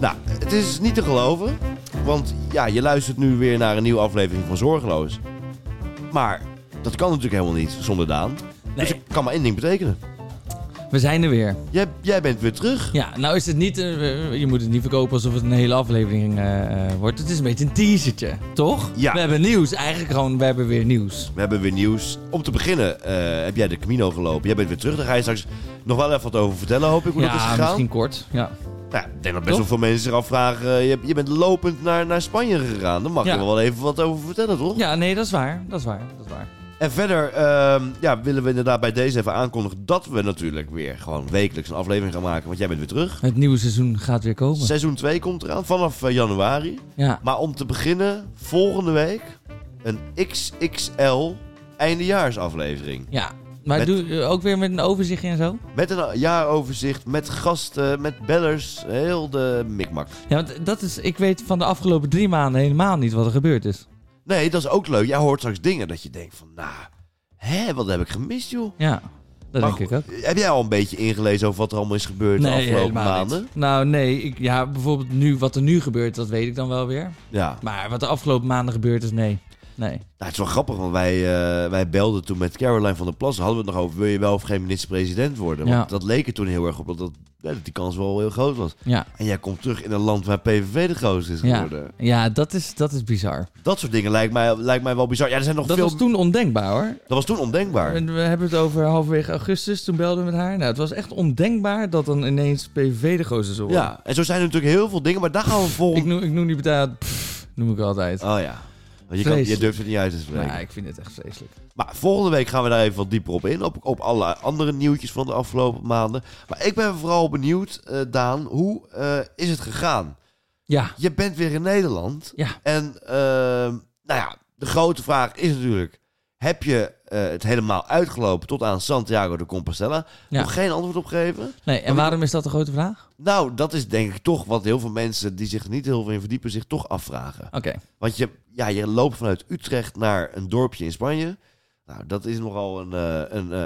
Nou, is niet te geloven. Want ja, je luistert nu weer naar een nieuwe aflevering van Zorgeloos. Maar dat kan natuurlijk helemaal niet zonder Daan. Dus Nee. het kan maar één ding betekenen. We zijn er weer. Jij, jij bent weer terug. Ja, nou is het niet... eh, je moet het niet verkopen alsof het een hele aflevering eh, eh, wordt. Het is een beetje een teasertje, toch? Ja. We hebben nieuws. Eigenlijk gewoon, we hebben weer nieuws. We hebben weer nieuws. Om te beginnen eh, heb jij de Camino gelopen. Jij bent weer terug. Daar ga je straks nog wel even wat over vertellen, hoop ik, hoe dat is ja, gegaan. misschien kort. Ja. Nou, ik denk dat best Toch? wel veel mensen zich afvragen. eh, je, je bent lopend naar, naar Spanje gegaan. Daar mag Ja. je wel even wat over vertellen, toch? ja, nee, dat is waar. Dat is waar. Dat is waar. En verder ehm, ja, willen we inderdaad bij deze even aankondigen dat we natuurlijk weer gewoon wekelijks een aflevering gaan maken. Want jij bent weer terug. Het nieuwe seizoen gaat weer komen. Seizoen 2 komt eraan vanaf eh, januari. Ja. Maar om te beginnen, volgende week een XXL eindejaarsaflevering. Ja. Maar Met- doe eh, ook weer met een overzichtje en zo? Met een jaaroverzicht, met gasten, met bellers, heel de mikmak. Ja, want dat is... Ik weet van de afgelopen drie maanden helemaal niet wat er gebeurd is. Nee, dat is ook leuk. Jij hoort straks dingen dat je denkt van, nou, hè, wat heb ik gemist, joh? Ja, dat Maar denk ik ook. goed, Heb jij al een beetje ingelezen over wat er allemaal is gebeurd de afgelopen helemaal maanden? niet. Nou, nee. Ik, ja, bijvoorbeeld nu, wat er nu gebeurt, dat weet ik dan wel weer. Ja. Maar wat de afgelopen maanden gebeurd is, nee. Nee. Nou, het is wel grappig, want wij, eh, wij belden toen met Caroline van der Plas. Hadden we het nog over, wil je wel of geen minister-president worden? Want Ja. dat leek er toen heel erg op, dat, dat, ja, dat die kans wel heel groot was. Ja, En jij komt terug in een land waar PVV de grootste is ja. geworden. ja dat, is, dat is bizar. Dat soort dingen lijkt mij, lijkt mij wel bizar. Ja, er zijn nog Dat veel... was toen ondenkbaar hoor. dat was toen ondenkbaar. En we hebben het over halverwege augustus, toen belden we met haar. Nou, het was echt ondenkbaar dat dan ineens PVV de grootste zou worden. Ja, en zo zijn er natuurlijk heel veel dingen, maar daar gaan we Ik volgende... noem, ik noem die betaald, pff, noem ik altijd. Oh ja. Want je, kan, je Vreselijk. durft het niet uit te spreken. Ja, ik vind het echt vreselijk. Maar volgende week gaan we daar even wat dieper op in. Op, op alle andere nieuwtjes van de afgelopen maanden. Maar ik ben vooral benieuwd, eh, Daan, hoe eh, is het gegaan? Ja, Je bent weer in Nederland. ja. En ehm, nou ja, de grote vraag is natuurlijk: heb je eh, het helemaal uitgelopen tot aan Santiago de Compostela? Ja. Nog geen antwoord op gegeven? Nee, en waarom is dat de grote vraag? Nou, dat is denk ik toch wat heel veel mensen die zich er niet heel veel in verdiepen, zich toch afvragen. Oké. Want je, ja, je loopt vanuit Utrecht naar een dorpje in Spanje. Nou, dat is nogal een, eh, een, eh,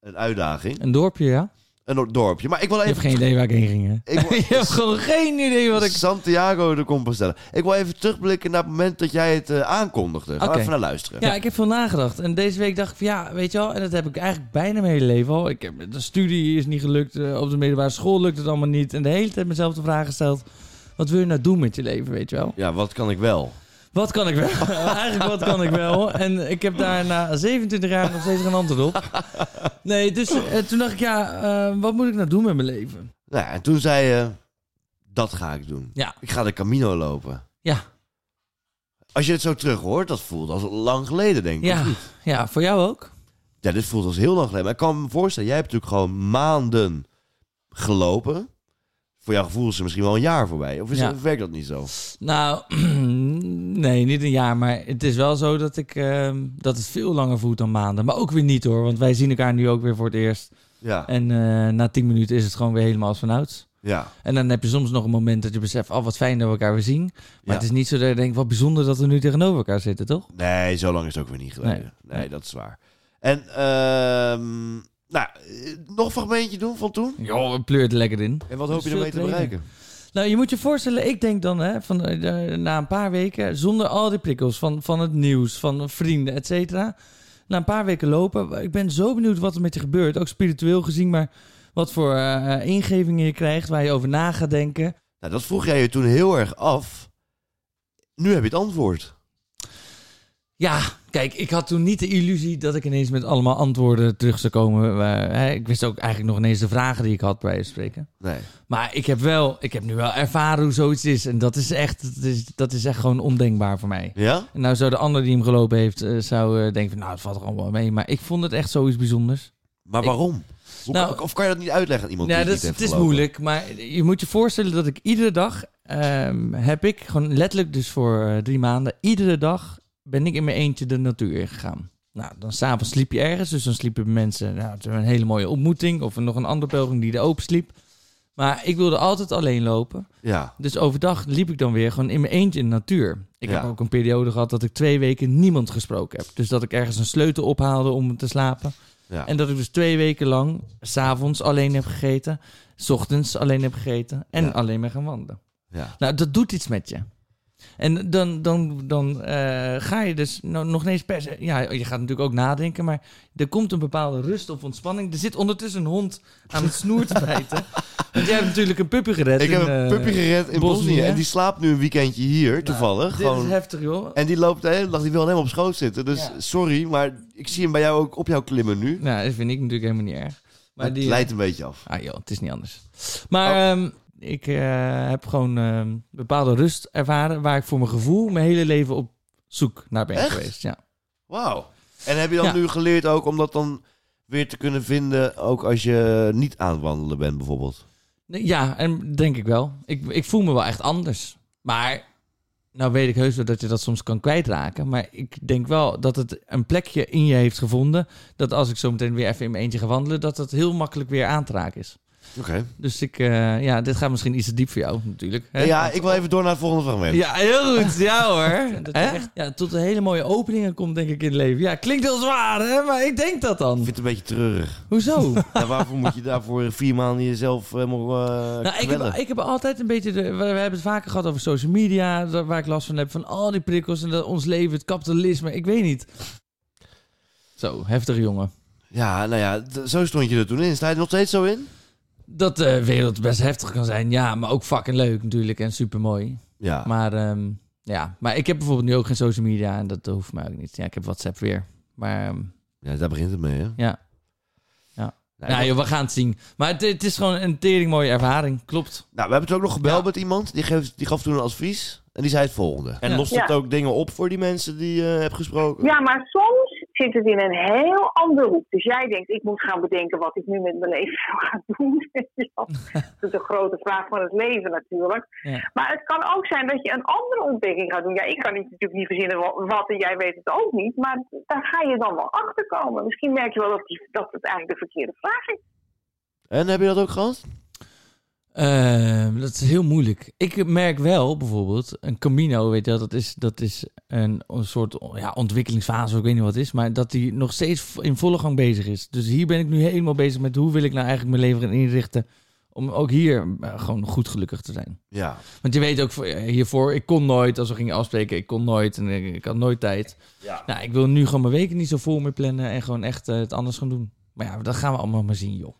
een uitdaging. Een dorpje, ja? Een dorpje. Maar ik wil Je hebt even. geen idee waar ik heen ging, hè? Ik word- Je hebt gewoon geen idee wat ik... Santiago de Compostela. Ik wil even terugblikken naar het moment dat jij het eh, aankondigde. Ga Oké. even naar luisteren. Ja, ik heb veel nagedacht. En deze week dacht ik van ja, weet je wel, en dat heb ik eigenlijk bijna mijn hele leven al. Ik heb, de studie is niet gelukt, eh, op de middelbare school lukt het allemaal niet. En de hele tijd mezelf de vraag gesteld, wat wil je nou doen met je leven, weet je wel? Ja, wat kan ik wel? Wat kan ik wel? eigenlijk wat kan ik wel? En ik heb daar na 27 jaar nog steeds geen antwoord op. Nee, dus eh, toen dacht ik ja, eh, wat moet ik nou doen met mijn leven? Nou, ja, en toen zei je, dat ga ik doen. Ja, Ik ga de Camino lopen. ja, Als je het zo terug hoort, dat voelt als lang geleden, denk ik. ja, ja, voor jou ook? Ja, dit voelt als heel lang geleden. Maar ik kan me voorstellen, jij hebt natuurlijk gewoon maanden gelopen. Voor jouw gevoel is er misschien wel een jaar voorbij. Of is Ja. werkt dat niet zo? Nou, nee, niet een jaar. Maar het is wel zo dat, ik, ehm, dat het veel langer voelt dan maanden. Maar ook weer niet hoor, want wij zien elkaar nu ook weer voor het eerst. Ja, En eh, na tien minuten is het gewoon weer helemaal als vanouds. ja. En dan heb je soms nog een moment dat je beseft, oh wat fijn dat we elkaar weer zien. Maar Ja. het is niet zo dat je denkt, wat bijzonder dat we nu tegenover elkaar zitten, toch? Nee, zo lang is het ook weer niet geleden. Nee, Nee. dat is waar. En, ehm, nou, eh, nog een fragmentje doen van toen? Ja, we pleurt lekker in. En wat Dat hoop is je ermee te veel training. bereiken? Nou, je moet je voorstellen, ik denk dan hè, van, eh, na een paar weken, zonder al die prikkels van, van het nieuws, van vrienden, et cetera. Na een paar weken lopen, ik ben zo benieuwd wat er met je gebeurt. Ook spiritueel gezien, maar wat voor eh, eh, ingevingen je krijgt, waar je over na gaat denken. Nou, dat vroeg jij je toen heel erg af. Nu heb je het antwoord. Ja, kijk, ik had toen niet de illusie dat ik ineens met allemaal antwoorden terug zou komen. Eh, hè, ik wist ook eigenlijk nog ineens de vragen die ik had bij wijze van spreken. Nee. Maar ik heb, wel, ik heb nu wel ervaren hoe zoiets is. En dat is echt, dat is, dat is echt gewoon ondenkbaar voor mij. Ja? En nou zou de ander die hem gelopen heeft, eh, zou eh, denken van, nou, het valt er allemaal wel mee. Maar ik vond het echt zoiets bijzonders. Maar Ik- waarom? Hoe Nou- kan- of kan je dat niet uitleggen aan iemand ja, die dat het is, dus niet het heeft is gelopen? moeilijk, maar je moet je voorstellen dat ik iedere dag ehm, heb ik, gewoon letterlijk dus voor eh, drie maanden, iedere dag ben ik in mijn eentje de natuur ingegaan. Nou, dan s'avonds sliep je ergens, dus dan sliepen mensen, nou, het was een hele mooie ontmoeting of nog een andere pelgrim die er open sliep. Maar ik wilde altijd alleen lopen. Ja. Dus overdag liep ik dan weer gewoon in mijn eentje in de natuur. Ik Ja. heb ook een periode gehad dat ik twee weken niemand gesproken heb. Dus dat ik ergens een sleutel ophaalde om te slapen. ja. En dat ik dus twee weken lang s'avonds alleen heb gegeten. S ochtends alleen heb gegeten. En Ja. alleen ben gaan wandelen. Ja. Nou, dat doet iets met je. En dan, dan, dan eh, ga je dus no- nog ineens per se... Ja, je gaat natuurlijk ook nadenken, maar er komt een bepaalde rust of ontspanning. Er zit ondertussen een hond aan het snoer te bijten. Want jij hebt natuurlijk een puppy gered. Ik in, heb een eh, puppy gered in Bosnië, Bosnië. hè? Nou, En die slaapt nu een weekendje hier, toevallig. Dit Gewoon. is heftig, joh. En die loopt de hele dag, die wil helemaal op schoot zitten. Dus Ja. sorry, maar ik zie hem bij jou ook op jou klimmen nu. Nou, dat vind ik natuurlijk helemaal niet erg. Maar het die, leidt een beetje af. Ah joh, het is niet anders. Maar ehm, ik eh, heb gewoon ehm, bepaalde rust ervaren... waar ik voor mijn gevoel mijn hele leven op zoek naar ben Echt? geweest. Ja. Wauw. En heb je dan Ja. nu geleerd ook om dat dan weer te kunnen vinden, ook als je niet aan het wandelen bent bijvoorbeeld? Nee, Ja, en denk ik wel. Ik, ik voel me wel echt anders. Maar, nou weet ik heus wel dat je dat soms kan kwijtraken. Maar ik denk wel dat het een plekje in je heeft gevonden. Dat als ik zo meteen weer even in mijn eentje ga wandelen, dat dat heel makkelijk weer aan te raken is. Oké. Dus ik, eh, ja, dit gaat misschien iets te diep voor jou natuurlijk. hè? Ja, ik wil even door naar het volgende fragment. Ja, heel goed. Ja hoor. Hè? ja, tot een hele mooie openingen komt denk ik in het leven. Ja, klinkt heel zwaar hè, maar ik denk dat Ik dan. vind het een beetje treurig. Hoezo? Ja, waarvoor moet je daarvoor vier maanden jezelf helemaal eh Nou, ik, heb, kwellen? ik heb altijd een beetje. De, we, we hebben het vaker gehad over social media. da- Waar ik last van heb. Van al die prikkels en dat, ons leven, het kapitalisme. Ik weet niet. Zo, heftig jongen. Ja, nou ja, d- zo stond je er toen in. Sta je er nog steeds zo in? Dat de wereld best heftig kan zijn. Ja, maar ook fucking leuk natuurlijk. En super mooi. Ja. Maar ehm, ja, maar ik heb bijvoorbeeld nu ook geen social media. En dat hoeft mij ook niet. Ja, ik heb WhatsApp weer. Maar ehm, ja, daar begint het mee, hè? ja. Nou, nou, joh, we gaan het zien. Maar het, het is gewoon een tering mooie ervaring. Klopt. Nou, we hebben het ook nog gebeld Ja. met iemand. Die, geeft, die gaf toen een advies. En die zei het volgende. En Ja. lost het ook dingen op voor die mensen die je hebt gesproken? Ja, maar soms zit het in een heel andere hoek. Dus jij denkt, ik moet gaan bedenken wat ik nu met mijn leven zou gaan doen. dat is de grote vraag van het leven natuurlijk. Ja. Maar het kan ook zijn dat je een andere ontdekking gaat doen. Ja, ik kan niet, natuurlijk niet verzinnen wa- wat en jij weet het ook niet. Maar daar ga je dan wel achter komen. Misschien merk je wel dat, die, dat het eigenlijk de verkeerde vraag is. En heb je dat ook gehad? Ehm, dat is heel moeilijk. Ik merk wel bijvoorbeeld, een Camino, weet je wel, dat is, dat is een, een soort ja, ontwikkelingsfase, ik weet niet wat het is, maar dat die nog steeds v- in volle gang bezig is. Dus hier ben ik nu helemaal bezig met hoe wil ik nou eigenlijk mijn leven gaan inrichten om ook hier eh, gewoon goed gelukkig te zijn. Ja. Want je weet ook voor- eh, hiervoor, ik kon nooit, als we gingen afspreken, ik kon nooit en ik, ik had nooit tijd. Ja. Nou, ik wil nu gewoon mijn weken niet zo vol meer plannen en gewoon echt eh, het anders gaan doen. Maar ja, dat gaan we allemaal maar zien, joh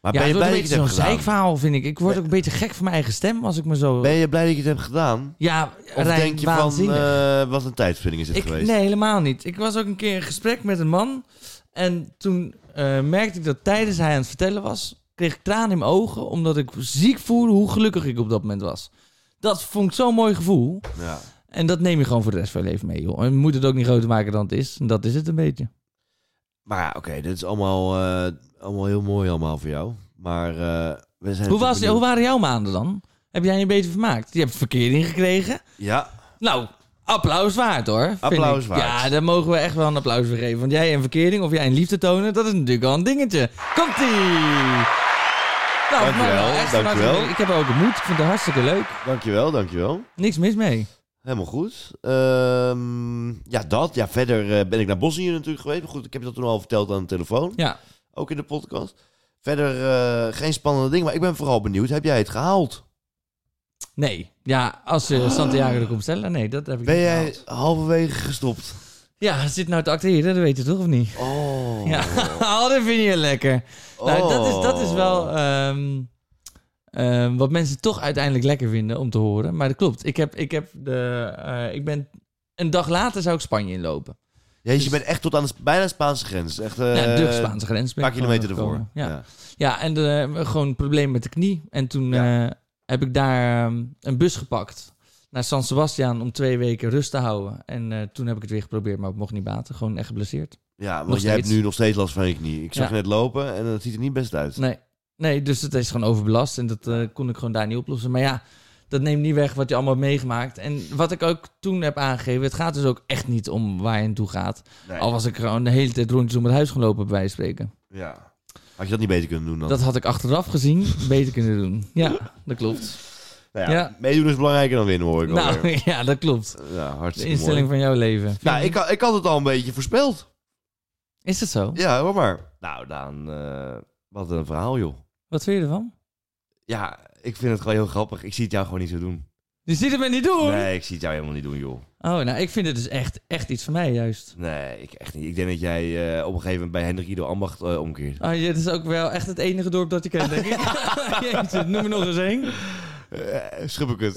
Maar ja, ben, het je wordt blij dat een je beetje het hebt zo'n gedaan? zeikverhaal, vind ik. Ik word ook een beetje gek van mijn eigen stem als ik me zo... ben je blij dat je het hebt gedaan? Ja, Of Rijn, denk je waanzinnig. van, eh, wat een tijdspinning is het ik, geweest? nee, helemaal niet. Ik was ook een keer in gesprek met een man. En toen eh, merkte ik dat tijdens hij aan het vertellen was... kreeg ik tranen in mijn ogen, omdat ik ziek voelde hoe gelukkig ik op dat moment was. Dat vond ik zo'n mooi gevoel. Ja. En dat neem je gewoon voor de rest van je leven mee, joh. En je moet het ook niet groter maken dan het is. En dat is het een beetje. Maar ja, oké, dit is allemaal, eh, allemaal heel mooi allemaal voor jou. Maar eh, we zijn... Hoe, was, benieuwd- hoe waren jouw maanden dan? Heb jij je beter vermaakt? Je hebt verkering gekregen. Ja, Nou, applaus waard hoor. vind Applaus ik. waard. Ja, daar mogen we echt wel een applaus voor geven. Want jij een verkering of jij een liefde tonen, dat is natuurlijk al een dingetje. Komt-ie! Nou, Dankjewel, nou, nou, echt van harte dankjewel. leuk. Ik heb er ook de moed. Ik vind het hartstikke leuk. dankjewel, dankjewel. Niks mis mee. Helemaal goed. Ehm, ja, dat. Ja, verder eh, ben ik naar Bosnië natuurlijk geweest. Maar goed, ik heb je dat toen al verteld aan de telefoon. Ja. Ook in de podcast. Verder eh, geen spannende ding, maar ik ben vooral benieuwd. Heb jij het gehaald? Nee. Ja, als eh, Santiago er komt stellen. Nee, dat heb ik Ben niet jij gehaald. halverwege gestopt? Ja, zit nou te acteren, dat weet je toch of niet? Oh. Ja, oh, dat vind je lekker. Nou, dat is, dat is wel Oh. ehm, ehm, wat mensen toch uiteindelijk lekker vinden om te horen. Maar dat klopt. Ik, heb, ik, heb de, eh, ik ben een dag later zou ik Spanje inlopen. Jezus, je bent echt tot aan de, Sp- bijna de Spaanse grens. Echt, eh, Dus- ja, de Spaanse grens. Een ben paar ik gewoon kilometer ervoor. gekomen. Ja, ja. en eh, gewoon een probleem met de knie. En toen Ja. eh, heb ik daar ehm, een bus gepakt naar San Sebastian om twee weken rust te houden. En eh, toen heb ik het weer geprobeerd, maar het mocht niet baten. Gewoon echt geblesseerd. Ja, want Nog jij hebt steeds. nu nog steeds last van je knie. Ik zag Ja. je net lopen en dat ziet er niet best uit. Nee. nee, dus het is gewoon overbelast en dat eh, kon ik gewoon daar niet oplossen. Maar ja, dat neemt niet weg wat je allemaal hebt meegemaakt. En wat ik ook toen heb aangegeven, het gaat dus ook echt niet om waar je naartoe gaat. Nee. Al was ik gewoon de hele tijd rondjes om het huis gaan lopen bij wijze van spreken. Ja. Had je dat niet beter kunnen doen dan? Dat had ik achteraf gezien beter kunnen doen. Ja, dat klopt. Nou ja, ja. Meedoen is belangrijker dan winnen, hoor ik alweer. Nou, ja, dat klopt. Ja, De hartstikke instelling mooi. van jouw leven. Nou, ik, had- ik had het al een beetje voorspeld. Is dat zo? Ja, hoor maar. Nou, dan... eh, wat een verhaal, joh. Wat vind je ervan? Ja, Ik vind het gewoon heel grappig. Ik zie het jou gewoon niet zo doen. Je ziet het me niet doen. Nee, ik zie het jou helemaal niet doen, joh. Oh, nou, ik vind het dus echt, echt iets van mij juist. Nee, ik echt niet. Ik denk dat jij eh, op een gegeven moment bij Hendrik Ido Ambacht eh, omkeert. Oh, dit is ook wel echt het enige dorp dat ik ken, denk ik. Jeetje, noem er nog eens één. Eh, schub ik het.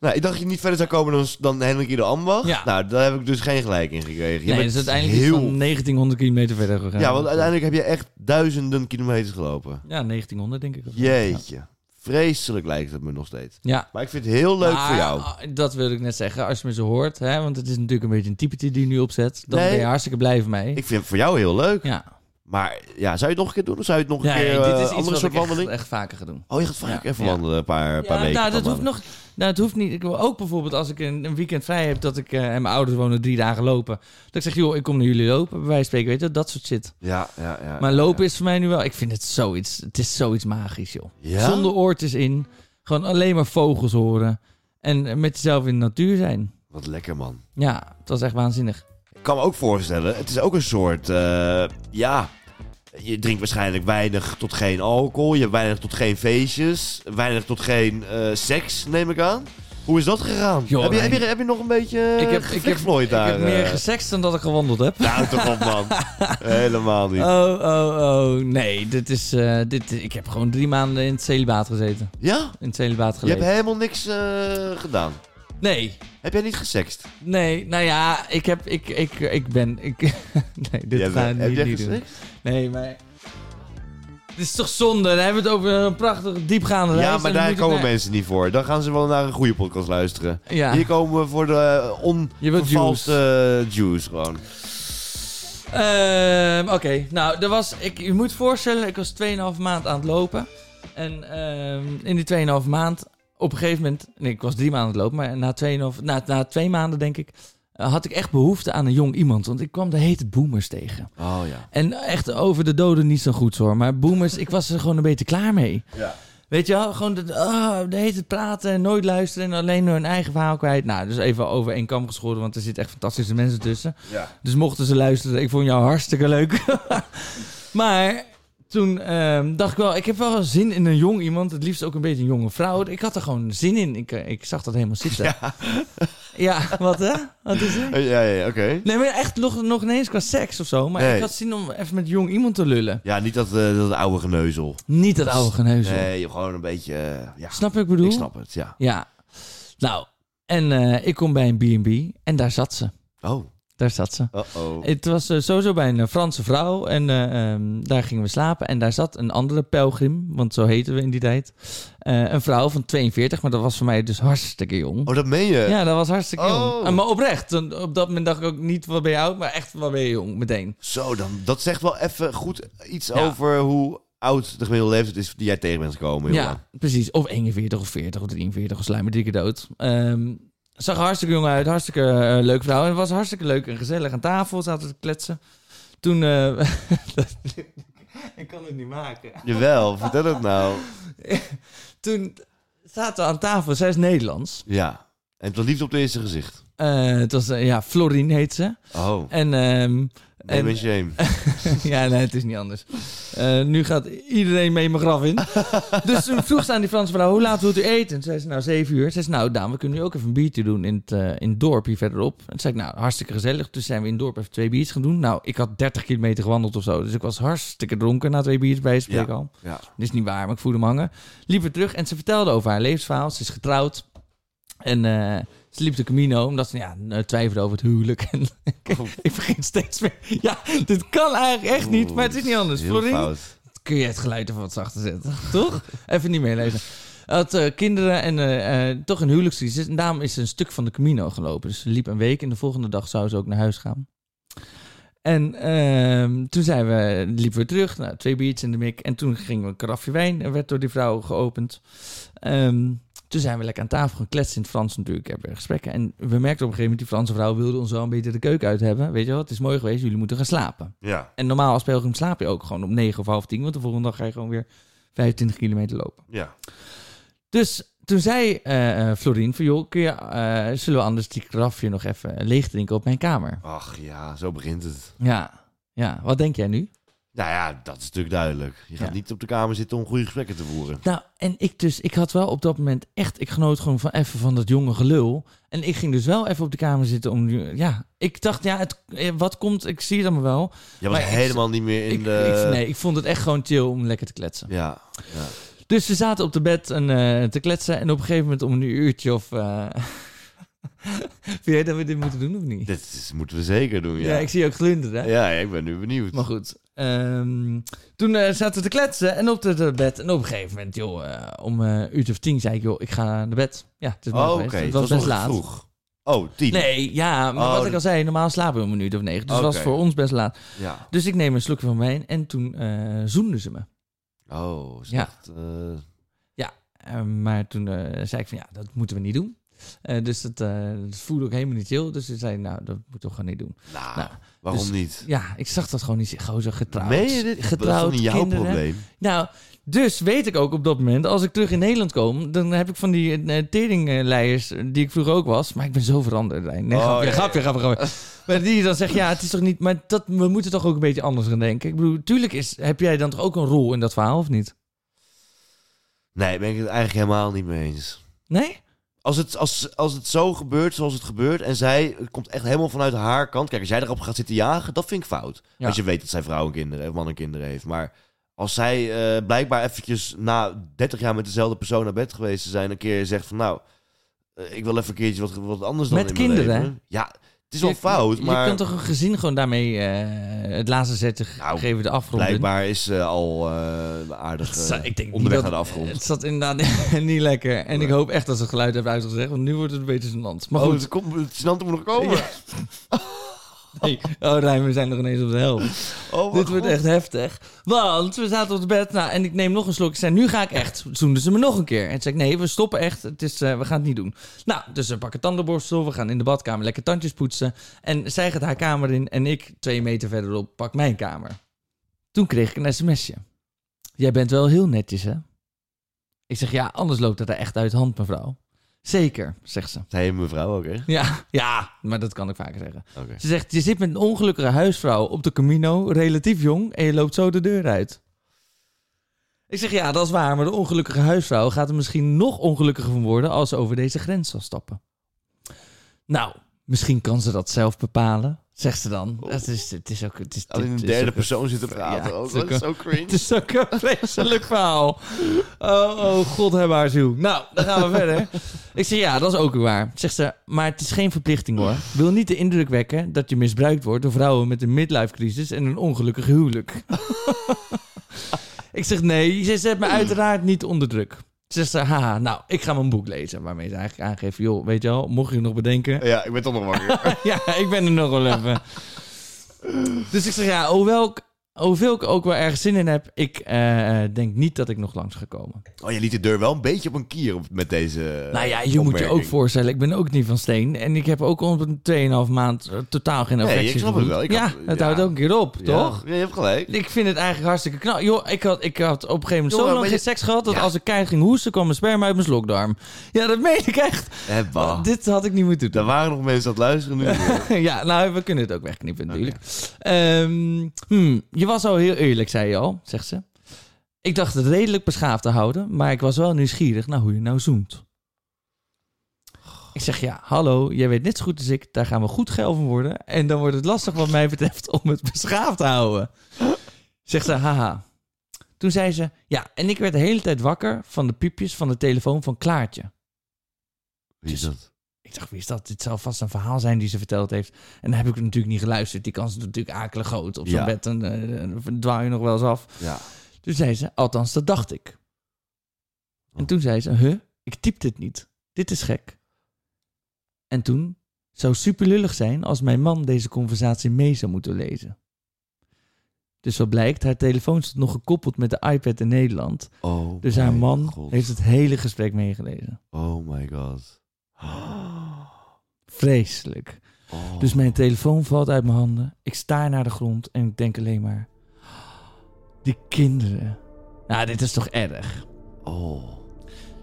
nou, ik dacht dat je niet verder zou komen dan, dan Hendrik Ido Ambacht. Ja. Nou, daar heb ik dus geen gelijk in gekregen. Je Nee, bent dus uiteindelijk is het van 1900 kilometer verder gegaan. Ja, want uiteindelijk heb je echt duizenden kilometers gelopen. Ja, 1900 denk ik. of zo. Jeetje. Vreselijk lijkt het me nog steeds. Ja. Maar ik vind het heel leuk voor Maar, jou. ah, Dat wilde ik net zeggen, als je me zo hoort. Hè, want het is natuurlijk een beetje een typetje die je nu opzet. Dan Nee. ben je hartstikke blij van mij. Ik vind het voor jou heel leuk. ja. Maar ja, zou je het nog een keer doen? Of zou je het nog een Ja, keer dit is eh, iets andere wat soort ik echt, wandeling? echt vaker ga doen. Oh, je gaat vaak Ja, even ja. wandelen, een paar, paar weken. nou, dat dan hoeft dan. nog. Nou, het hoeft niet. Ik wil ook bijvoorbeeld als ik een, een weekend vrij heb dat ik eh, en mijn ouders wonen drie dagen lopen. Dat ik zeg, joh, ik kom naar jullie lopen. Bij wijze van spreken, weet je, dat soort shit. Ja, ja, ja. Maar lopen is voor mij nu wel. Ik vind het zoiets. Het is zoiets magisch, joh. Ja? Zonder oortjes in. Gewoon alleen maar vogels horen. En met jezelf in de natuur zijn. Wat lekker, man. Ja, het was echt waanzinnig. Ik kan me ook voorstellen, het is ook een soort, eh, ja... Je drinkt waarschijnlijk weinig tot geen alcohol. Je hebt weinig tot geen feestjes. Weinig tot geen eh, seks, neem ik aan. Hoe is dat gegaan? Joh, heb, je, nee. heb, je, heb je nog een beetje ik heb, ik heb, geflikvlooid Eh, daar? ik heb meer eh? gesext dan dat ik gewandeld heb. Nou, toch op, man. Helemaal niet. Oh, oh, oh. Nee, dit is, eh, dit, ik heb gewoon drie maanden in het celibaat gezeten. ja? In het celibaat Je hebt geleefd. helemaal niks eh, gedaan. Nee, Heb jij niet gesext? Nee, nou ja, ik heb, ik, ik, ik ben, ik, nee, dit Jij- ga ik eh, heb niet, jij niet doen. gesext? Nee, maar, dit is toch zonde, dan hebben we het over een prachtige, diepgaande lijst Ja, en maar dan daar moet ik komen naar- mensen niet voor. Dan gaan ze wel naar een goede podcast luisteren. Ja, Hier komen we voor de eh, je wilt onvervalste juice. eh, juice gewoon. Ehm, Oké, nou, er was, ik, je moet voorstellen, ik was 2,5 maand aan het lopen. En ehm, in die 2,5 maand, op een gegeven moment, nee, ik was drie maanden aan het lopen, maar na, 2,5 na, na twee maanden, denk ik, eh, had ik echt behoefte aan een jong iemand. Want ik kwam de hete boomers tegen. Oh ja. En echt over de doden niet zo goed hoor. Maar boomers, ik was er gewoon een beetje klaar mee. Ja. Weet je wel, gewoon dat, ah, de hele tijd praten en nooit luisteren en alleen hun eigen verhaal kwijt. Nou, dus even over één kam geschoren, want er zitten echt fantastische mensen tussen. ja. Dus mochten ze luisteren, ik vond jou hartstikke leuk. maar toen ehm, dacht ik wel, ik heb wel zin in een jong iemand. Het liefst ook een beetje een jonge vrouw. Ik had er gewoon zin in. Ik, eh, ik zag dat helemaal zitten. Ja, wat hè? Wat is er? Ja, Eh, ja, ja, oké. Nee, maar echt nog, nog ineens qua seks of zo. Maar Nee. ik had zin om even met jong iemand te lullen. Ja, niet dat, eh, dat oude geneuzel. Niet dat oude geneuzel. Nee, gewoon een beetje... eh, ja, Snap je wat ik bedoel? ik snap het, ja. Ja. Nou, en eh, ik kom bij een B&B en daar zat ze. Oh, Daar zat ze. uh-oh. Het was eh, sowieso bij een eh, Franse vrouw en eh, ehm, daar gingen we slapen. En daar zat een andere pelgrim, want zo heten we in die tijd. Eh, een vrouw van 42, maar dat was voor mij dus hartstikke jong. Oh, dat meen je? Ja, dat was hartstikke jong. Oh. En maar oprecht, toen- op dat moment dacht ik ook niet wat ben je oud, maar echt wat ben je jong meteen. Zo, dan, dat zegt wel even goed iets Ja. over hoe oud de gemiddelde leeftijd is die jij tegen bent gekomen. jongen. Ja, precies. Of 41 of 40 of 43 of slijmer dikke dood. Ehm, zag er hartstikke jong uit, hartstikke eh, leuk vrouw. En het was hartstikke leuk en gezellig aan tafel, zaten te kletsen. Toen... eh, dat- ik kan het niet maken. Jawel, vertel het nou. Toen zaten we aan tafel, zij is Nederlands. Ja. En het was liefde op het eerste gezicht. Eh, het was, eh, ja, Florien heet ze. Oh, En, ehm, name en and shame. ja, nee, het is niet anders. Eh, nu gaat iedereen mee mijn graf in. dus toen vroeg ze aan die Franse vrouw, hoe laat wilt u eten? En zei ze, nou, zeven uur. Ze zei, nou, Daan, we kunnen nu ook even een biertje doen in het, eh, in het dorp hier verderop. En toen zei ik, nou, hartstikke gezellig. Toen zijn we in het dorp even twee biertjes gaan doen. Nou, ik had 30 kilometer gewandeld of zo. Dus ik was hartstikke dronken na twee biertjes bij spreken al. Ja. Dit is niet waar, maar ik voelde hem hangen. Liep weer terug en ze vertelde over haar levensverhaal. Ze is getrouwd. En eh, ze liep de Camino, omdat ze ja, eh, twijfelde over het huwelijk. En ik, Oh. ik vergeet steeds meer. Ja, dit kan eigenlijk echt niet, Oeh, maar het is niet anders. heel Florien, fout. kun je het geluid even wat zachter zetten, toch? Even niet meelezen. Had eh, kinderen en eh, eh, toch een huwelijkscrisis. En daarom is ze een stuk van de Camino gelopen. Dus ze liep een week en de volgende dag zou ze ook naar huis gaan. En ehm, toen zijn we, liepen we terug, nou, twee biertjes in de mik. En toen gingen we een karafje wijn, en werd door die vrouw geopend. Ehm, toen zijn we lekker aan tafel gaan kletsen in het Frans natuurlijk, hebben we gesprekken. En we merkten op een gegeven moment, die Franse vrouw wilde ons wel een beetje de keuken uit hebben. Weet je wat, het is mooi geweest, jullie moeten gaan slapen. Ja, En normaal als pelgrim slaap je ook gewoon om 9 of half 10. Want de volgende dag ga je gewoon weer 25 kilometer lopen. ja. Dus toen zei eh eh, Florien van joh, kun je, eh, zullen we anders die krafje nog even leeg drinken op mijn kamer? Ach ja, zo begint het. Ja, ja. Wat denk jij nu? Nou ja, dat is natuurlijk duidelijk. Je gaat Ja. niet op de kamer zitten om goede gesprekken te voeren. Nou, en ik dus, ik had wel op dat moment echt, ik genoot gewoon van even van dat jonge gelul. En ik ging dus wel even op de kamer zitten om, ja, ik dacht, ja, het, eh, wat komt, ik zie het allemaal wel. Je was Maar ik- helemaal niet meer in Ik, de... ik- nee, ik vond het echt gewoon chill om lekker te kletsen. Ja, ja. Dus we zaten op de bed en, eh, te kletsen en op een gegeven moment om een uurtje of... eh, Vind jij dat we dit moeten doen of niet? Dit is- moeten we zeker doen, ja. ja. ik zie je ook glunderen. hè? Ja, ik ben nu benieuwd. Maar goed. ehm, toen eh, zaten we te kletsen en op het eh, bed. En op een gegeven moment, joh, eh, om eh, een uurtje of tien zei ik, joh, ik ga naar bed. Ja, het is Oh, mooi oké. geweest. Het Het was best nog laat. vroeg. Oh, tien. Nee, ja, maar Oh, wat dat- ik al zei, normaal slapen we om een uur of negen. Dus het was Oké. voor ons best laat. Ja. Dus ik neem een slokje van wijn en toen eh zoenden ze me. Oh, is Ja. echt, eh, Eh, maar toen eh, zei ik van, ja, dat moeten we niet doen. Eh, dus dat, eh, dat voelde ook helemaal niet chill. Dus ze zei, nou, dat moeten we gewoon niet doen. nou, Nou, waarom dus- niet? Ja, ik zag dat gewoon niet. Gozer, getrouwd. Meen je dit? Getrouwd, dat is toch niet jouw kinderen. probleem? Nou, dus weet ik ook op dat moment, als ik terug in Nederland kom, dan heb ik van die eh, teringleiers eh, die ik vroeger ook was, maar ik ben zo veranderd. Rijn. Nee, Oh, grapje, ja, ja. grapje, grapje, grapje. Maar die dan zegt, ja, het is toch niet, maar dat, we moeten toch ook een beetje anders gaan denken. Ik bedoel, tuurlijk is, heb jij dan toch ook een rol in dat verhaal, of niet? Nee, ben ik het eigenlijk helemaal niet mee eens. Nee? Als het, als, als het zo gebeurt zoals het gebeurt en zij het komt echt helemaal vanuit haar kant. Kijk, als jij erop gaat zitten jagen, dat vind ik fout. Ja. Als je weet dat zij vrouwen en kinderen of mannen en kinderen heeft. Maar als zij eh, blijkbaar eventjes na 30 jaar met dezelfde persoon naar bed geweest te zijn, een keer zegt van nou, eh, ik wil even een keertje wat, wat anders dan Met in mijn kinderen, leven. Ja, het is wel Je- fout, je, maar Je kunt toch een gezin gewoon daarmee eh, het laatste zetje ge- Nou, geven, de afgrond in? blijkbaar is ze al eh, aardig Het zat- eh, ik denk niet onderweg dat- naar de afgrond. Het zat inderdaad niet lekker. En ik hoop echt dat ze het geluid hebben uitgezegd, want nu wordt het een beetje gênant. Maar Oh, goed. het, komt, het gênante moet nog komen. Oh, Ja. Hey. Oh, Rijn, we zijn nog ineens op de helft. Oh, Dit wordt echt heftig. Want we zaten op het bed. Nou, en ik neem nog een slok. Ik zei, nu ga ik echt. Zoenden ze me nog een keer. En toen zei ik, nee, we stoppen echt. Het is, eh, we gaan het niet doen. Nou, dus we pakken tandenborstel. We gaan in de badkamer lekker tandjes poetsen. En zij gaat haar kamer in. En ik, twee meter verderop, pak mijn kamer. Toen kreeg ik een sms'je. Jij bent wel heel netjes, hè? Ik zeg, ja, anders loopt het er echt uit de hand, mevrouw. Zeker, zegt ze. Hey, mevrouw, oké. Ja, ja, maar dat kan ik vaker zeggen. Oké. Ze zegt, je zit met een ongelukkige huisvrouw op de Camino, relatief jong, en je loopt zo de deur uit. Ik zeg, ja, dat is waar, maar de ongelukkige huisvrouw gaat er misschien nog ongelukkiger van worden als ze over deze grens zal stappen. Nou, misschien kan ze dat zelf bepalen, zegt ze dan. Oh. Het is, het is ook... Het is, Alleen in het de is derde ook- persoon zitten praten. Ja, ook. het is dat is zo Het cringe. is ook een vreselijk verhaal. Oh, oh, god heb haar ziel. Nou, dan gaan we verder. Ik zeg, ja, dat is ook waar. Zegt ze, maar het is geen verplichting hoor. Wil niet de indruk wekken dat je misbruikt wordt door vrouwen met een midlife crisis en een ongelukkig huwelijk. ik zeg, nee, ze zet me uiteraard niet onder druk. Zegt ze, haha, nou, ik ga mijn boek lezen. Waarmee ze eigenlijk aangeeft, joh, weet je wel, mocht je het nog bedenken, Ja, ik ben toch nog wakker. ja, ik ben er nog wel even. Dus ik zeg ja, hoewel ik, hoeveel ik ook wel erg zin in heb, ik eh, denk niet dat ik nog langs ga komen. Oh, je liet de deur wel een beetje op een kier op, met deze. eh, nou ja, je moet je opmerking. ook voorstellen, ik ben ook niet van steen. En ik heb ook op een 2,5 maand eh, totaal geen Nee, affectie. ik snap het gevoeld. wel. Ik ja, had- het ja. houdt ook een keer op, Ja, toch? Ja, je hebt gelijk. Ik vind het eigenlijk hartstikke knap. Joh, ik had, ik had op een gegeven Jongen, moment zo lang maar geen je- seks gehad... dat Ja. als ik keihard ging hoesten, kwam mijn sperma uit mijn slokdarm. Ja, dat meen ik echt. Hebba. Dit had ik niet moeten doen. Er waren nog mensen aan het luisteren nu. ja, nou, we kunnen het ook wegknippen natuurlijk. Ehm, hmm, je was al heel eerlijk, zei je al, zegt ze. Ik dacht het redelijk beschaafd te houden, maar ik was wel nieuwsgierig naar hoe je nou zoent. Ik zeg ja, hallo, jij weet net zo goed als ik, daar gaan we goed geil van worden. En dan wordt het lastig wat mij betreft om het beschaafd te houden. Zegt ze, haha. Toen zei ze, ja, en ik werd de hele tijd wakker van de piepjes van de telefoon van Klaartje. Wie is dat? Ik dacht, wie is dat? Dit zal vast een verhaal zijn die ze verteld heeft. En dan heb ik natuurlijk niet geluisterd. Die kans is natuurlijk akelig groot. Op zo'n Ja. bed dan eh, dan dwaal je nog wel eens af. Ja. Toen zei ze, althans, dat dacht ik. En toen zei ze, huh, ik typ dit niet. Dit is gek. En toen zou super lullig zijn als mijn man deze conversatie mee zou moeten lezen. Dus wat blijkt, haar telefoon stond nog gekoppeld met de iPad in Nederland. Oh. Dus haar my man God. heeft het hele gesprek meegelezen. Oh my god. Oh. Vreselijk. Oh. Dus mijn telefoon valt uit mijn handen. Ik sta naar de grond en ik denk alleen maar... Die kinderen. Nou, dit is toch erg. Oh.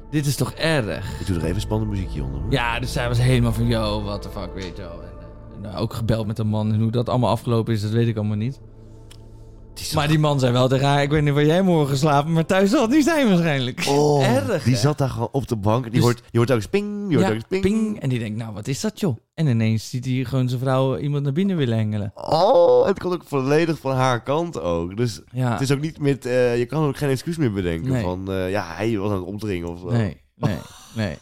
Dit is toch erg. Ik doe er even een spannend muziekje onder. hoor. Ja, dus zij was helemaal van... Yo, what the fuck, eh, weet je wel. En, eh, nou, ook gebeld met een man. En hoe dat allemaal afgelopen is, dat weet ik allemaal niet. Die zat- Maar die man zei wel tegen haar, ik weet niet waar jij morgen slaapt, maar thuis zal het niet zijn waarschijnlijk. oh, erg, die hè? zat daar gewoon op de bank. Die, Dus- hoort, die hoort ook eens ping, die hoort ook eens ping. En die denkt, nou wat is dat joh? En ineens ziet hij gewoon zijn vrouw iemand naar binnen willen hengelen. Oh, het komt ook volledig van haar kant ook. Dus Ja, het is ook niet met... eh, je kan ook geen excuus meer bedenken Ah. Nee. van... eh, ja, hij was aan het omdringen of zo. nee, nee, nee.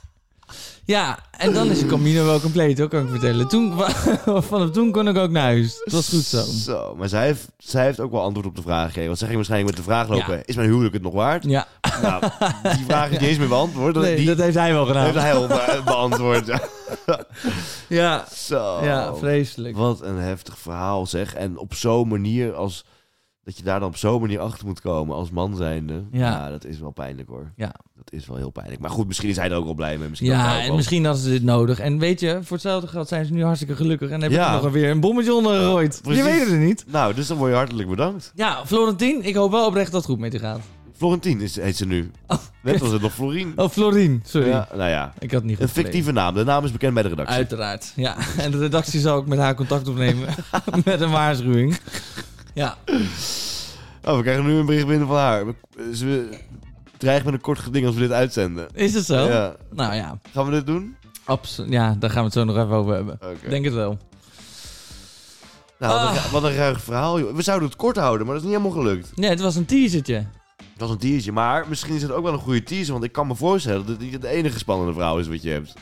Ja, en dan is de Camino wel compleet hoor, kan ik vertellen. Toen, vanaf toen kon ik ook naar huis. Het was goed zo. Zo, maar zij heeft, zij heeft ook wel antwoord op de vraag gegeven. Want zij ging waarschijnlijk met de vraag lopen... Is mijn huwelijk het nog waard? Ja, Nou, die vraag is niet eens meer beantwoord. nee, die dat heeft hij wel gedaan. heeft hij al be- beantwoord. Ja, Zo. ja vreselijk. Oh, Wat een heftig verhaal zeg. En op zo'n manier als... Dat je daar dan op zo'n manier achter moet komen als man zijnde. Ja. dat is wel pijnlijk hoor. Ja. Dat is wel heel pijnlijk. Maar goed, misschien is hij er ook wel blij mee. Misschien ook Ja, wel. en misschien hadden ze dit nodig. En weet je, voor hetzelfde geld zijn ze nu hartstikke gelukkig. En hebben Ja. ze nog weer een bommetje ondergegooid. Ja, je precies. weet het niet. Nou, dus dan word je hartelijk bedankt. Ja, Florentien, ik hoop wel oprecht dat het goed met je gaat. Florentien is, heet ze nu. Net was het nog Florien. Oh, Florien, sorry. Ja, nou ja, Ik had het niet een goed fictieve naam. De naam is bekend bij de redactie. Uiteraard, ja. En de redactie zal ook met haar contact opnemen. met een waarschuwing. Ja, Oh, we krijgen nu een bericht binnen van haar. We- Ze dreigen met een kort geding als we dit uitzenden. is het zo? Ja. Nou ja, Gaan we dit doen? absoluut. Ja, daar gaan we het zo nog even over hebben. Oké. Denk het wel. Nou, wat een, Ah. ra- wat een ruig verhaal. joh. We zouden het kort houden, maar dat is niet helemaal gelukt. Nee, het was een teasertje. Dat was een teasertje, maar misschien is het ook wel een goede teaser. Want ik kan me voorstellen dat het niet het enige spannende verhaal is wat je hebt.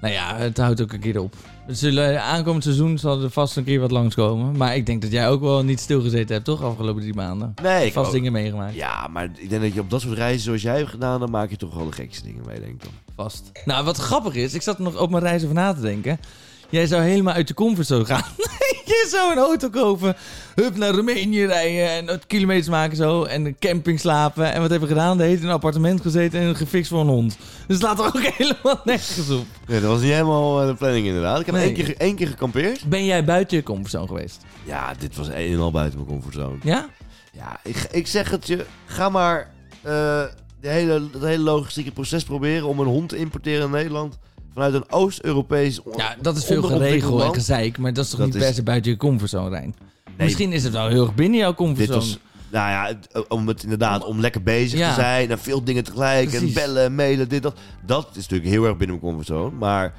Nou ja, het houdt ook een keer op. Het zullen, eh, aankomend seizoen zal er vast een keer wat langskomen. Maar ik denk dat jij ook wel niet stilgezeten hebt, toch? Afgelopen drie maanden. Nee, ik Vast ook. dingen meegemaakt. Ja, maar ik denk dat je op dat soort reizen zoals jij hebt gedaan, dan maak je toch wel de gekste dingen mee, denk ik dan. Vast. Nou, wat grappig is, ik zat er nog op mijn reis over na te denken. Jij zou helemaal uit je comfortzone gaan. je zou een auto kopen, hup naar Roemenië rijden en wat kilometers maken zo. En een camping slapen. En wat hebben we gedaan? De heeft in een appartement gezeten en gefixt voor een hond. Dus het slaat er ook helemaal nergens op. Nee, dat was niet helemaal eh, de planning inderdaad. Ik heb Nee. één, keer, ge- één keer gekampeerd. Ben jij buiten je comfortzone geweest? Ja, dit was een en al buiten mijn comfortzone. Ja? Ja, ik, ik zeg het je. Ga maar eh, de hele, het hele logistieke proces proberen om een hond te importeren in Nederland. Vanuit een Oost-Europees... on- Ja, dat is veel onderontwikkeld geregeld en land. gezeik. Maar dat is toch Dat niet is- per se buiten je comfortzone, Rijn? Nee, Misschien is het wel heel erg binnen jouw dit comfortzone. was... Nou ja, het- om het inderdaad, om lekker bezig Ja. te zijn en veel dingen tegelijk en Precies. bellen en mailen, dit, dat. Dat is natuurlijk heel erg binnen mijn comfortzone, maar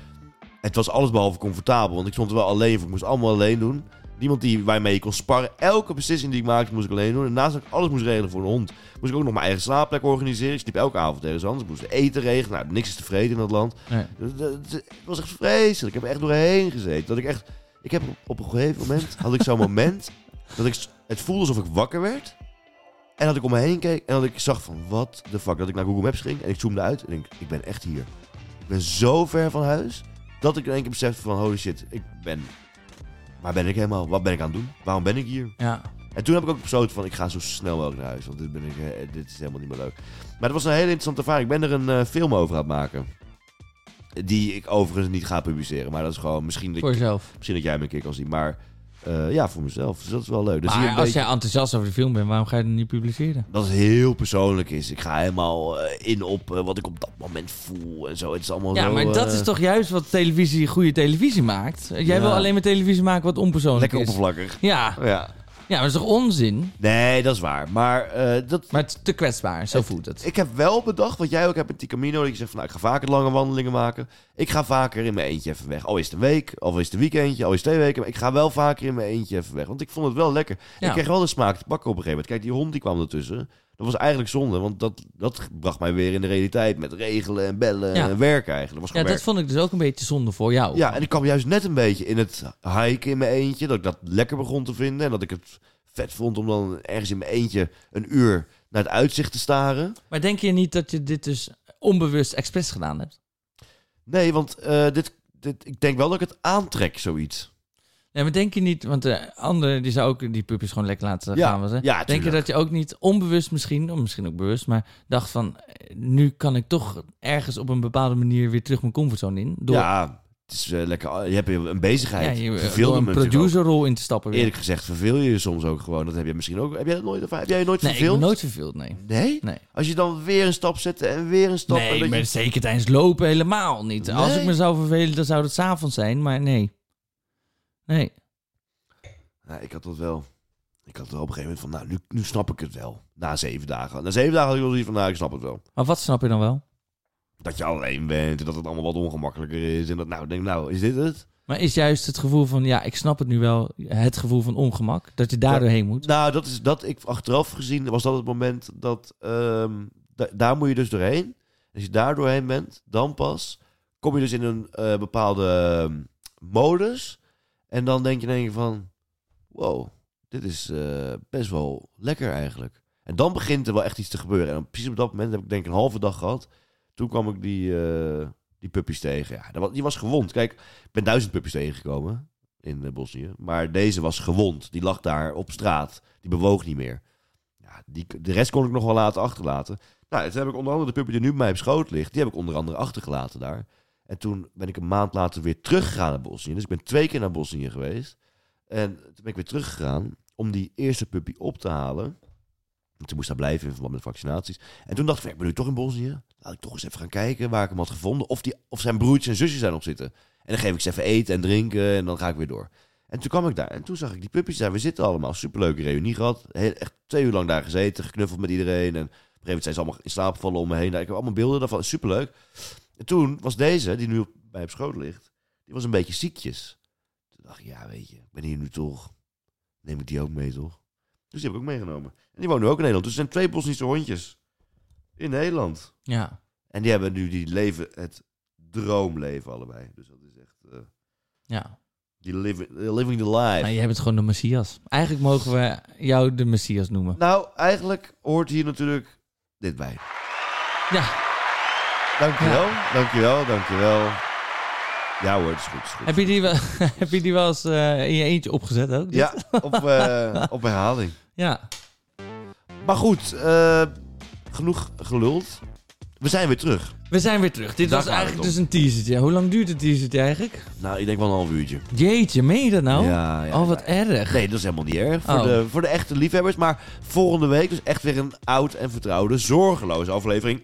het was allesbehalve comfortabel, want ik stond er wel alleen voor, ik moest allemaal alleen doen. Niemand die waarmee ik kon sparren. Elke beslissing die ik maakte moest ik alleen doen. En naast dat ik alles moest regelen voor een hond, moest ik ook nog mijn eigen slaapplek organiseren. Ik sliep elke avond ergens anders. Ik moest eten regelen. Nou, niks is tevreden in dat land. Nee. Dat- dat- dat- Dus Het was echt vreselijk. Ik heb er echt doorheen gezeten. Dat ik echt. Ik heb op een gegeven moment had ik zo'n moment dat ik s- het voelde alsof ik wakker werd. En dat ik om me heen keek en dat ik zag van wat de fuck. Dat ik naar Google Maps ging en ik zoomde uit en denk ik ben echt hier. Ik ben zo ver van huis dat ik in één keer besefte van holy shit, ik ben. Waar ben ik helemaal? Wat ben ik aan het doen? Waarom ben ik hier? Ja. En toen heb ik ook besloten van, ik ga zo snel mogelijk naar huis. Want dit, ben ik, eh, dit is helemaal niet meer leuk. Maar het was een hele interessante ervaring. Ik ben er een eh, film over aan het maken. Die ik overigens niet ga publiceren. Maar dat is gewoon, misschien dat, Voor jezelf. misschien dat jij me een keer kan zien. Maar eh, ja, voor mezelf. Dus dat is wel leuk. Dus maar hier een als beetje- jij enthousiast over de film bent, waarom ga je het niet publiceren? dat het heel persoonlijk is. Ik ga helemaal eh, in op eh, wat ik op dat moment voel en zo. Het is allemaal Ja, zo, maar dat eh, is toch juist wat televisie goede televisie maakt? Jij Ja. wil alleen maar televisie maken wat onpersoonlijk lekker is. oppervlakkig. Ja. Ja. ja, maar dat is toch onzin? Nee, dat is waar. Maar eh, dat, Maar het is te kwetsbaar, zo voelt het. Ik heb wel bedacht, wat jij ook hebt met die Camino, dat je zegt van nou, ik ga vaker lange wandelingen maken. Ik ga vaker in mijn eentje even weg. Al is het een week, al is het een weekendje, al is het twee weken. Maar ik ga wel vaker in mijn eentje even weg. Want ik vond het wel lekker. Ja. Ik kreeg wel de smaak te pakken op een gegeven moment. Kijk, die hond die kwam ertussen. Dat was eigenlijk zonde, want dat, dat bracht mij weer in de realiteit met regelen en bellen Ja. en werken eigenlijk. Dat was Ja, gewoon dat werk. vond ik dus ook een beetje zonde voor jou. Ja, en ik kwam juist net een beetje in het hiken in mijn eentje. Dat ik dat lekker begon te vinden. En dat ik het vet vond om dan ergens in mijn eentje een uur naar het uitzicht te staren. Maar denk je niet dat je dit dus onbewust expres gedaan hebt? Nee, want eh, dit, dit, ik denk wel dat ik het aantrek, zoiets. Nee, maar denk je niet, want de anderen die zou ook die pupjes gewoon lekker laten Ja, gaan. Was, hè? ja, denk je tuurlijk. dat je ook niet onbewust misschien, of misschien ook bewust, maar dacht van eh, nu kan ik toch ergens op een bepaalde manier weer terug mijn comfortzone in? Door, Ja, het is eh, lekker. Je hebt een bezigheid. ja, Ja, je- eh, je, door verveelde een me natuurlijk ook. producerrol in te stappen. Weer. Eerlijk gezegd verveel je je soms ook gewoon. Dat heb je misschien ook. Heb jij dat nooit, ervaren? heb jij je nooit nee, ik verveeld? ben nooit verveeld, nee. Nee? Nee. Als je dan weer een stap zet en weer een stap. en nee, dat maar je- zeker tijdens lopen helemaal niet. Als Nee? ik me zou vervelen, dan zou het s'avonds zijn, maar nee. Nee. Ja, ik had Nou, dat wel. Ik Ik had er op een gegeven moment van, nou, nu, nu snap ik het wel. Na zeven dagen. Na zeven dagen had ik wel zoiets van, nou, ik snap het wel. Maar wat snap je dan wel? Dat je alleen bent en dat het allemaal wat ongemakkelijker is. En dat, nou, ik denk nou, is dit het? Maar is juist het gevoel van, ja, ik snap het nu wel, het gevoel van ongemak, dat je daar Ja. doorheen moet. Nou, dat is dat. Ik achteraf gezien was dat het moment dat ehm, da- daar moet je dus doorheen. Als je daar doorheen bent, dan pas kom je dus in een eh, bepaalde ehm, modus. En dan denk je in één keer van, wow, dit is eh, best wel lekker eigenlijk. En dan begint er wel echt iets te gebeuren. En dan precies op dat moment heb ik denk ik een halve dag gehad. Toen kwam ik die, eh, die puppies tegen. Ja, dat wa- die was gewond. Kijk, ik ben duizend puppies tegengekomen in eh, Bosnië. Maar deze was gewond. Die lag daar op straat. Die bewoog niet meer. Ja, die, de rest kon ik nog wel laten achterlaten. Nou, toen heb ik onder andere de puppy die nu bij mij op schoot ligt. Die heb ik onder andere achtergelaten daar. En toen ben ik een maand later weer teruggegaan naar Bosnië. Dus ik ben twee keer naar Bosnië geweest. En toen ben ik weer teruggegaan om die eerste puppy op te halen. En toen moest daar blijven in verband met vaccinaties. En toen dacht ik, van, ik ben nu toch in Bosnië. Laat ik toch eens even gaan kijken waar ik hem had gevonden. Of, die, of zijn broertjes en zusjes daar nog zitten. En dan geef ik ze even eten en drinken en dan ga ik weer door. En toen kwam ik daar en toen zag ik die puppies daar. We zitten allemaal, superleuke reunie gehad. Heel, echt twee uur lang daar gezeten, geknuffeld met iedereen. En op een gegeven moment zijn ze allemaal in slaap gevallen om me heen. Nou, Ik heb allemaal beelden daarvan, superleuk. En toen was deze, die nu op, bij op schoot ligt, die was een beetje ziekjes. Toen dacht ik, ja weet je, ik ben hier nu toch. Neem ik die ook mee toch? Dus die heb ik ook meegenomen. En die woont nu ook in Nederland. Dus er zijn twee Bosnische hondjes in Nederland. Ja. En die hebben nu die leven, het droomleven allebei. Dus dat is echt. eh, Ja, die living, eh, living the life. maar je bent gewoon de Messias. Eigenlijk mogen we jou de Messias noemen. Nou, eigenlijk hoort hier natuurlijk dit bij. Ja, Dankjewel, dankjewel, dankjewel. Ja hoor, het is goed. het is goed. heb je die wel, heb je die wel eens eh, in je eentje opgezet ook? Ja, op, eh, op herhaling. Ja. Maar goed, eh, genoeg geluld. We zijn weer terug. We zijn weer terug. Dit Daar was gaat eigenlijk het dus een teasertje. Hoe lang duurt het teasertje eigenlijk? Nou, ik denk wel een half uurtje. Jeetje, meen je dat nou? Ja, ja, oh, wat ja. erg. Nee, dat is helemaal niet erg. Voor, Oh. de, voor de echte liefhebbers. Maar volgende week dus echt weer een oud en vertrouwde, zorgeloze aflevering.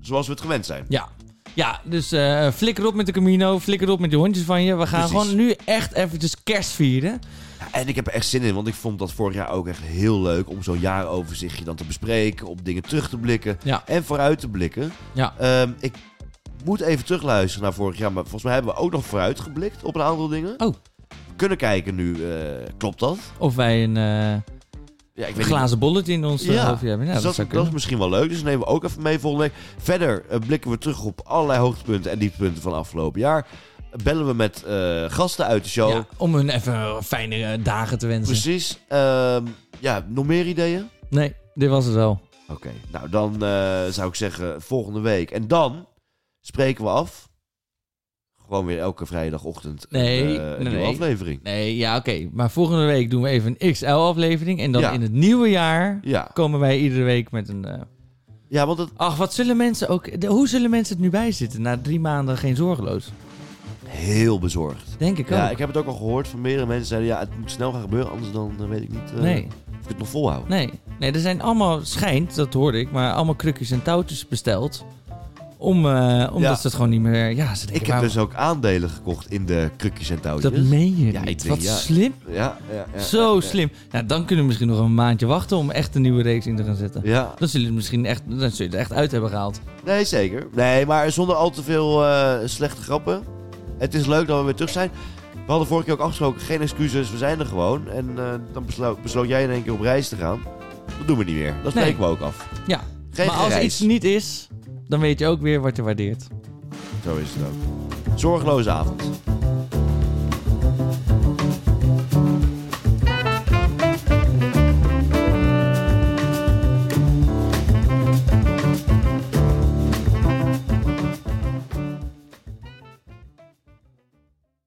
Zoals we het gewend zijn. Ja. Ja, dus eh, flikker op met de Camino, flikker op met de hondjes van je. We gaan Precies. gewoon nu echt eventjes kerst vieren. Ja, en ik heb er echt zin in, want ik vond dat vorig jaar ook echt heel leuk om zo'n jaaroverzichtje dan te bespreken. Op dingen terug te blikken Ja. en vooruit te blikken. Ja. Ehm, ik moet even terugluisteren naar vorig jaar, maar volgens mij hebben we ook nog vooruit geblikt op een aantal dingen. Oh. Kunnen kijken nu, eh, klopt dat? Of wij een eh, Ja, ik glazen bolletje in ons eh, Ja. hoofdje hebben. Ja, dus dat, dat, zou dat, kunnen. is misschien wel leuk. Dus dat nemen we ook even mee volgende week. Verder eh, blikken we terug op allerlei hoogtepunten en dieptepunten van afgelopen jaar. Bellen we met eh, gasten uit de show. Ja, om hun even eh, fijne eh, dagen te wensen. Precies. Ehm, ja, nog meer ideeën? Nee, dit was het wel. Oké, nou dan eh, zou ik zeggen volgende week. En dan spreken we af. Gewoon weer elke vrijdagochtend een, Nee, eh, nee, een nieuwe nee. aflevering. Nee, ja, oké. Maar volgende week doen we even een XL-aflevering. En dan Ja. in het nieuwe jaar Ja. komen wij iedere week met een... eh, ja, want het, Ach, wat zullen mensen ook... de- hoe zullen mensen het nu bijzitten na drie maanden geen zorgeloos? heel bezorgd. Denk ik Ja, ook. ik heb het ook al gehoord van meerdere mensen. Zeiden ja, het moet snel gaan gebeuren, anders dan eh, weet ik niet eh, Nee, of ik het nog volhoud. nee. Nee, er zijn allemaal, schijnt, dat hoorde ik, maar allemaal krukjes en touwtjes besteld. Om, eh, omdat Ja. ze het gewoon niet meer... Ja, ze denken... Ik heb waarom- dus ook aandelen gekocht in de krukjes en touwtjes. Dat meen je Ja, niet. ik denk, Wat ja. slim. Ja, ja, ja, Zo ja, slim. Nou, dan kunnen we misschien nog een maandje wachten om echt een nieuwe reeks in te gaan zetten. Ja. Ja. Dan zullen we het misschien echt, dan zullen we het echt uit hebben gehaald. nee zeker. Nee, maar zonder al te veel eh, slechte grappen. Het is leuk dat we weer terug zijn. We hadden vorige keer ook afgesproken, geen excuses, we zijn er gewoon. En eh, dan beslo- besloot jij in één keer op reis te gaan. Dat doen we niet meer. Dat Nee. spreken we ook af. Ja. Geen maar als gereis. iets niet is, dan weet je ook weer wat je waardeert. Zo is het ook. Zorgeloze avond.